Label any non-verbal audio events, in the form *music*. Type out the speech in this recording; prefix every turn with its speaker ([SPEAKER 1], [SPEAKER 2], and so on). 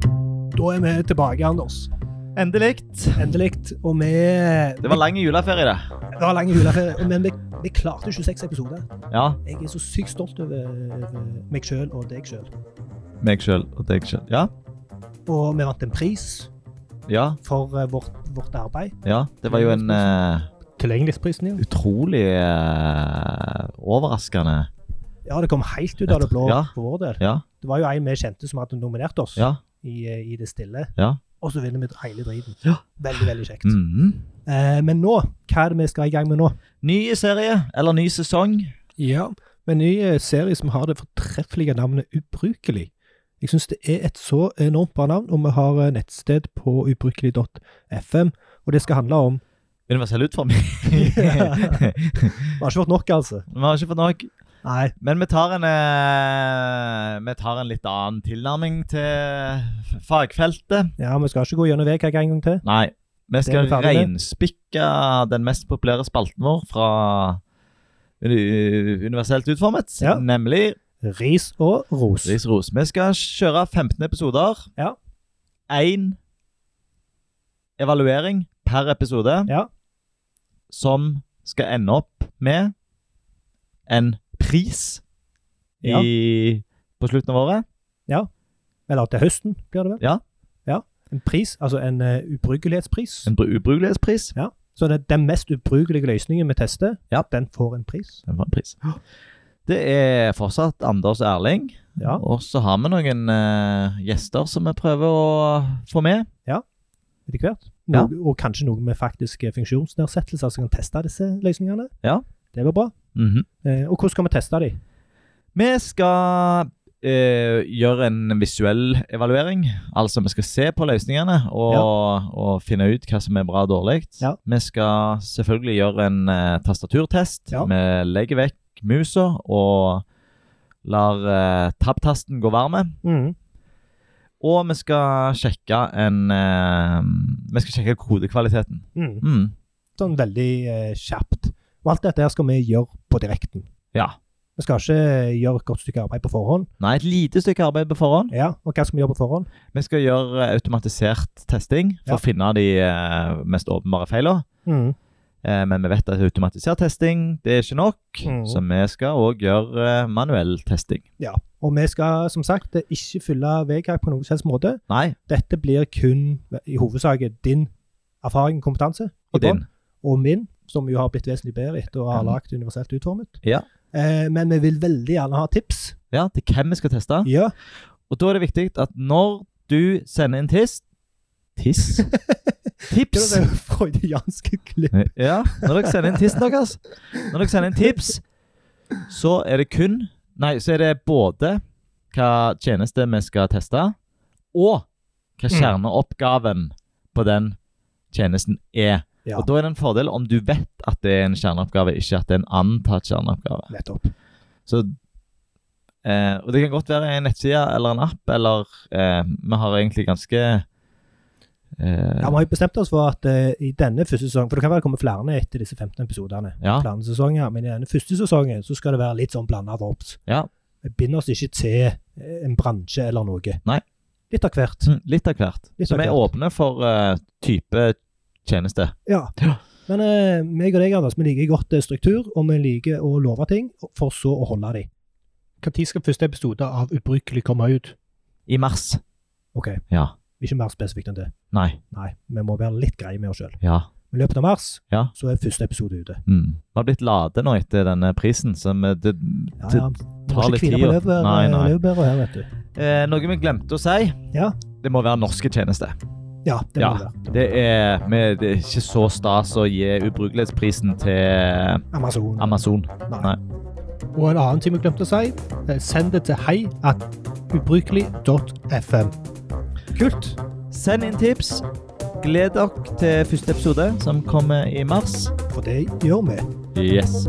[SPEAKER 1] Da er vi tilbake, Anders.
[SPEAKER 2] Endelig.
[SPEAKER 1] Endelig. Og vi
[SPEAKER 2] Det var lang juleferie, det.
[SPEAKER 1] Det var lang juleferie, men vi, vi klarte 26 episoder.
[SPEAKER 2] Ja,
[SPEAKER 1] Jeg er så sykt stolt over over meg sjøl og deg sjøl.
[SPEAKER 2] meg sjøl og deg sjøl. Ja,
[SPEAKER 1] Og vi vant en pris
[SPEAKER 2] ja,
[SPEAKER 1] for eh, vårt, vårt arbeid.
[SPEAKER 2] ja. Det var jo en eh,
[SPEAKER 1] Tilgjengelighetsprisen, ja.
[SPEAKER 2] utrolig eh, overraskende
[SPEAKER 1] Ja, det kom helt ut av det blå
[SPEAKER 2] Ja.
[SPEAKER 1] for vår del.
[SPEAKER 2] Ja,
[SPEAKER 1] Det var jo en vi kjente som hadde nominert oss
[SPEAKER 2] ja.
[SPEAKER 1] i, eh, i det stille.
[SPEAKER 2] Ja.
[SPEAKER 1] Og så vinner vi hele driten.
[SPEAKER 2] Ja.
[SPEAKER 1] Veldig, veldig kjekt.
[SPEAKER 2] Mhm.
[SPEAKER 1] Eh, men nå, hva er det vi skal i gang med nå?
[SPEAKER 2] Ny serie, eller ny sesong.
[SPEAKER 1] Ja, men en ny serie som har det fortreffelige navnet Ubrukelig. Jeg syns det er et så enormt bra navn, og vi har eh, nettsted på ubrukelig.fm, og det skal handle om
[SPEAKER 2] Universell *laughs* utforming. Vi
[SPEAKER 1] Vi har ikke fått nok, altså.
[SPEAKER 2] har ikke fått nok.
[SPEAKER 1] Nei.
[SPEAKER 2] Men vi tar en eh, Vi tar en litt annen tilnærming til f- fagfeltet.
[SPEAKER 1] Ja, vi skal ikke gå gjennom VK en gang til.
[SPEAKER 2] Nei. Vi
[SPEAKER 1] er
[SPEAKER 2] skal
[SPEAKER 1] vi ferdig med.
[SPEAKER 2] reinspikke den mest populære spalten vår fra uni- universelt utformet,
[SPEAKER 1] Ja.
[SPEAKER 2] nemlig
[SPEAKER 1] Ris og ros.
[SPEAKER 2] Ris Ros. Vi skal kjøre 15 episoder.
[SPEAKER 1] Ja.
[SPEAKER 2] Én evaluering per episode
[SPEAKER 1] Ja.
[SPEAKER 2] som skal ende opp med en pris i, på slutten av året.
[SPEAKER 1] Eller til høsten, blir det vel?
[SPEAKER 2] Ja.
[SPEAKER 1] Ja. En pris, altså en eh, ubrukelighetspris.
[SPEAKER 2] En bru- ubrukelighetspris.
[SPEAKER 1] Så det, den mest ubrukelige løsningen vi tester,
[SPEAKER 2] Ja.
[SPEAKER 1] den får en pris.
[SPEAKER 2] Den får en pris. Det er fortsatt Anders Erling.
[SPEAKER 1] Ja.
[SPEAKER 2] Og så har vi noen eh, gjester som vi prøver å få med.
[SPEAKER 1] Etter hvert.
[SPEAKER 2] Ja.
[SPEAKER 1] Noe, Og kanskje noe med faktiske funksjonsnedsettelser som altså kan teste disse løsningene.
[SPEAKER 2] Ja.
[SPEAKER 1] Det var bra.
[SPEAKER 2] Mhm.
[SPEAKER 1] Eh, og hvordan skal vi teste de?
[SPEAKER 2] Vi skal eh, gjøre en visuell evaluering. Altså, vi skal se på løsningene og, og finne ut hva som er bra og dårlig.
[SPEAKER 1] Ja.
[SPEAKER 2] Vi skal selvfølgelig gjøre en eh, tastaturtest.
[SPEAKER 1] Ja.
[SPEAKER 2] Vi legger vekk musa og lar eh, tab-tasten gå varme.
[SPEAKER 1] Mhm.
[SPEAKER 2] Og vi skal sjekke en eh, Vi skal sjekke kodekvaliteten.
[SPEAKER 1] Mhm.
[SPEAKER 2] Mm.
[SPEAKER 1] Sånn veldig eh, kjapt. Og alt dette her skal vi gjøre på direkten.
[SPEAKER 2] Ja.
[SPEAKER 1] Vi skal ikke eh, gjøre et godt stykke arbeid på forhånd.
[SPEAKER 2] Nei, et lite stykke arbeid på forhånd.
[SPEAKER 1] Ja, Og hva skal vi gjøre på forhånd?
[SPEAKER 2] Vi skal gjøre eh, automatisert testing for
[SPEAKER 1] Ja.
[SPEAKER 2] å finne de eh, mest åpenbare feilene.
[SPEAKER 1] Mhm.
[SPEAKER 2] Eh, men vi vet at automatisert testing det er ikke nok,
[SPEAKER 1] Mhm.
[SPEAKER 2] så vi skal òg gjøre eh, manuell testing.
[SPEAKER 1] Ja. Og vi skal som sagt eh, ikke fylle VGAG på noen som helst måte.
[SPEAKER 2] Nei,
[SPEAKER 1] Dette blir kun i hovedsak din erfaring og kompetanse. i
[SPEAKER 2] og din.
[SPEAKER 1] bånn, Og min, som jo har blitt vesentlig bedre etter å ha
[SPEAKER 2] Ja.
[SPEAKER 1] lagd universelt utformet.
[SPEAKER 2] Ja.
[SPEAKER 1] Eh, men vi vil veldig gjerne ha tips.
[SPEAKER 2] Ja, til hvem vi skal teste.
[SPEAKER 1] Ja.
[SPEAKER 2] Og da er det viktig at når du sender inn tiss
[SPEAKER 1] *laughs*
[SPEAKER 2] Tiss?
[SPEAKER 1] Det
[SPEAKER 2] Tips?
[SPEAKER 1] er *laughs* jo freudianske klipp.
[SPEAKER 2] Ja, når dere sender inn tissen deres Når dere sender inn tips Så er det kun Nei, så er det både Hva tjeneste vi skal teste Og hva
[SPEAKER 1] Mm.
[SPEAKER 2] kjerneoppgaven På den tjenesten er
[SPEAKER 1] Ja.
[SPEAKER 2] Og da er det en fordel om du vet At det er en kjerneoppgave, ikke at det er en antatt kjerneoppgave
[SPEAKER 1] Nettopp.
[SPEAKER 2] Så eh, Og det kan godt være en nettside Eller en app, eller eh, Vi har egentlig ganske eh,
[SPEAKER 1] Ja, Vi har jo bestemt oss for at eh, i denne første sesongen For det kan være det kommer flere etter disse 15 episodene.
[SPEAKER 2] Ja.
[SPEAKER 1] Flere sesonger, Men i denne første sesongen så skal det være litt sånn blanda drops.
[SPEAKER 2] Ja.
[SPEAKER 1] Vi binder oss ikke til eh, en bransje eller noe.
[SPEAKER 2] Nei.
[SPEAKER 1] Litt av hvert.
[SPEAKER 2] Mm, Litt av hvert.
[SPEAKER 1] Litt
[SPEAKER 2] så
[SPEAKER 1] av
[SPEAKER 2] vi er
[SPEAKER 1] hvert.
[SPEAKER 2] åpne for eh, type tjeneste.
[SPEAKER 1] Ja.
[SPEAKER 2] Ja.
[SPEAKER 1] Men eh, meg og deg, Anders, vi liker godt eh, struktur, og vi liker å love ting, for så å holde dem. Når skal første episode av Ubrukelig komme ut?
[SPEAKER 2] I mars.
[SPEAKER 1] Ok,
[SPEAKER 2] Ja.
[SPEAKER 1] Ikke mer spesifikt enn det.
[SPEAKER 2] Nei.
[SPEAKER 1] Nei, vi må være litt greie med oss sjøl.
[SPEAKER 2] Ja.
[SPEAKER 1] I løpet av mars
[SPEAKER 2] Ja.
[SPEAKER 1] så er første episode ute.
[SPEAKER 2] Mm. Vi har blitt lade nå etter denne prisen, så vi, det,
[SPEAKER 1] Ja,
[SPEAKER 2] det
[SPEAKER 1] ja. Vi må
[SPEAKER 2] tar litt
[SPEAKER 1] ikke hvile
[SPEAKER 2] tid.
[SPEAKER 1] på eh,
[SPEAKER 2] å-
[SPEAKER 1] løvbær-
[SPEAKER 2] Nei, nei.
[SPEAKER 1] løvbæra her, vet du.
[SPEAKER 2] Eh, noe vi glemte å si.
[SPEAKER 1] Ja.
[SPEAKER 2] Det må være norske tjenester.
[SPEAKER 1] Ja, det må
[SPEAKER 2] Ja.
[SPEAKER 1] det være.
[SPEAKER 2] Det er, vi, det er ikke så stas å gi ubrukelighetsprisen til eh,
[SPEAKER 1] Amazon.
[SPEAKER 2] Amazon.
[SPEAKER 1] Nei.
[SPEAKER 2] Nei.
[SPEAKER 1] Og en annen ting vi glemte å si, eh, send det til hei at ubrukelig.fm. Kult.
[SPEAKER 2] Send inn tips. Gled dere til første episode, som kommer i mars.
[SPEAKER 1] For det gjør vi.
[SPEAKER 2] Yes.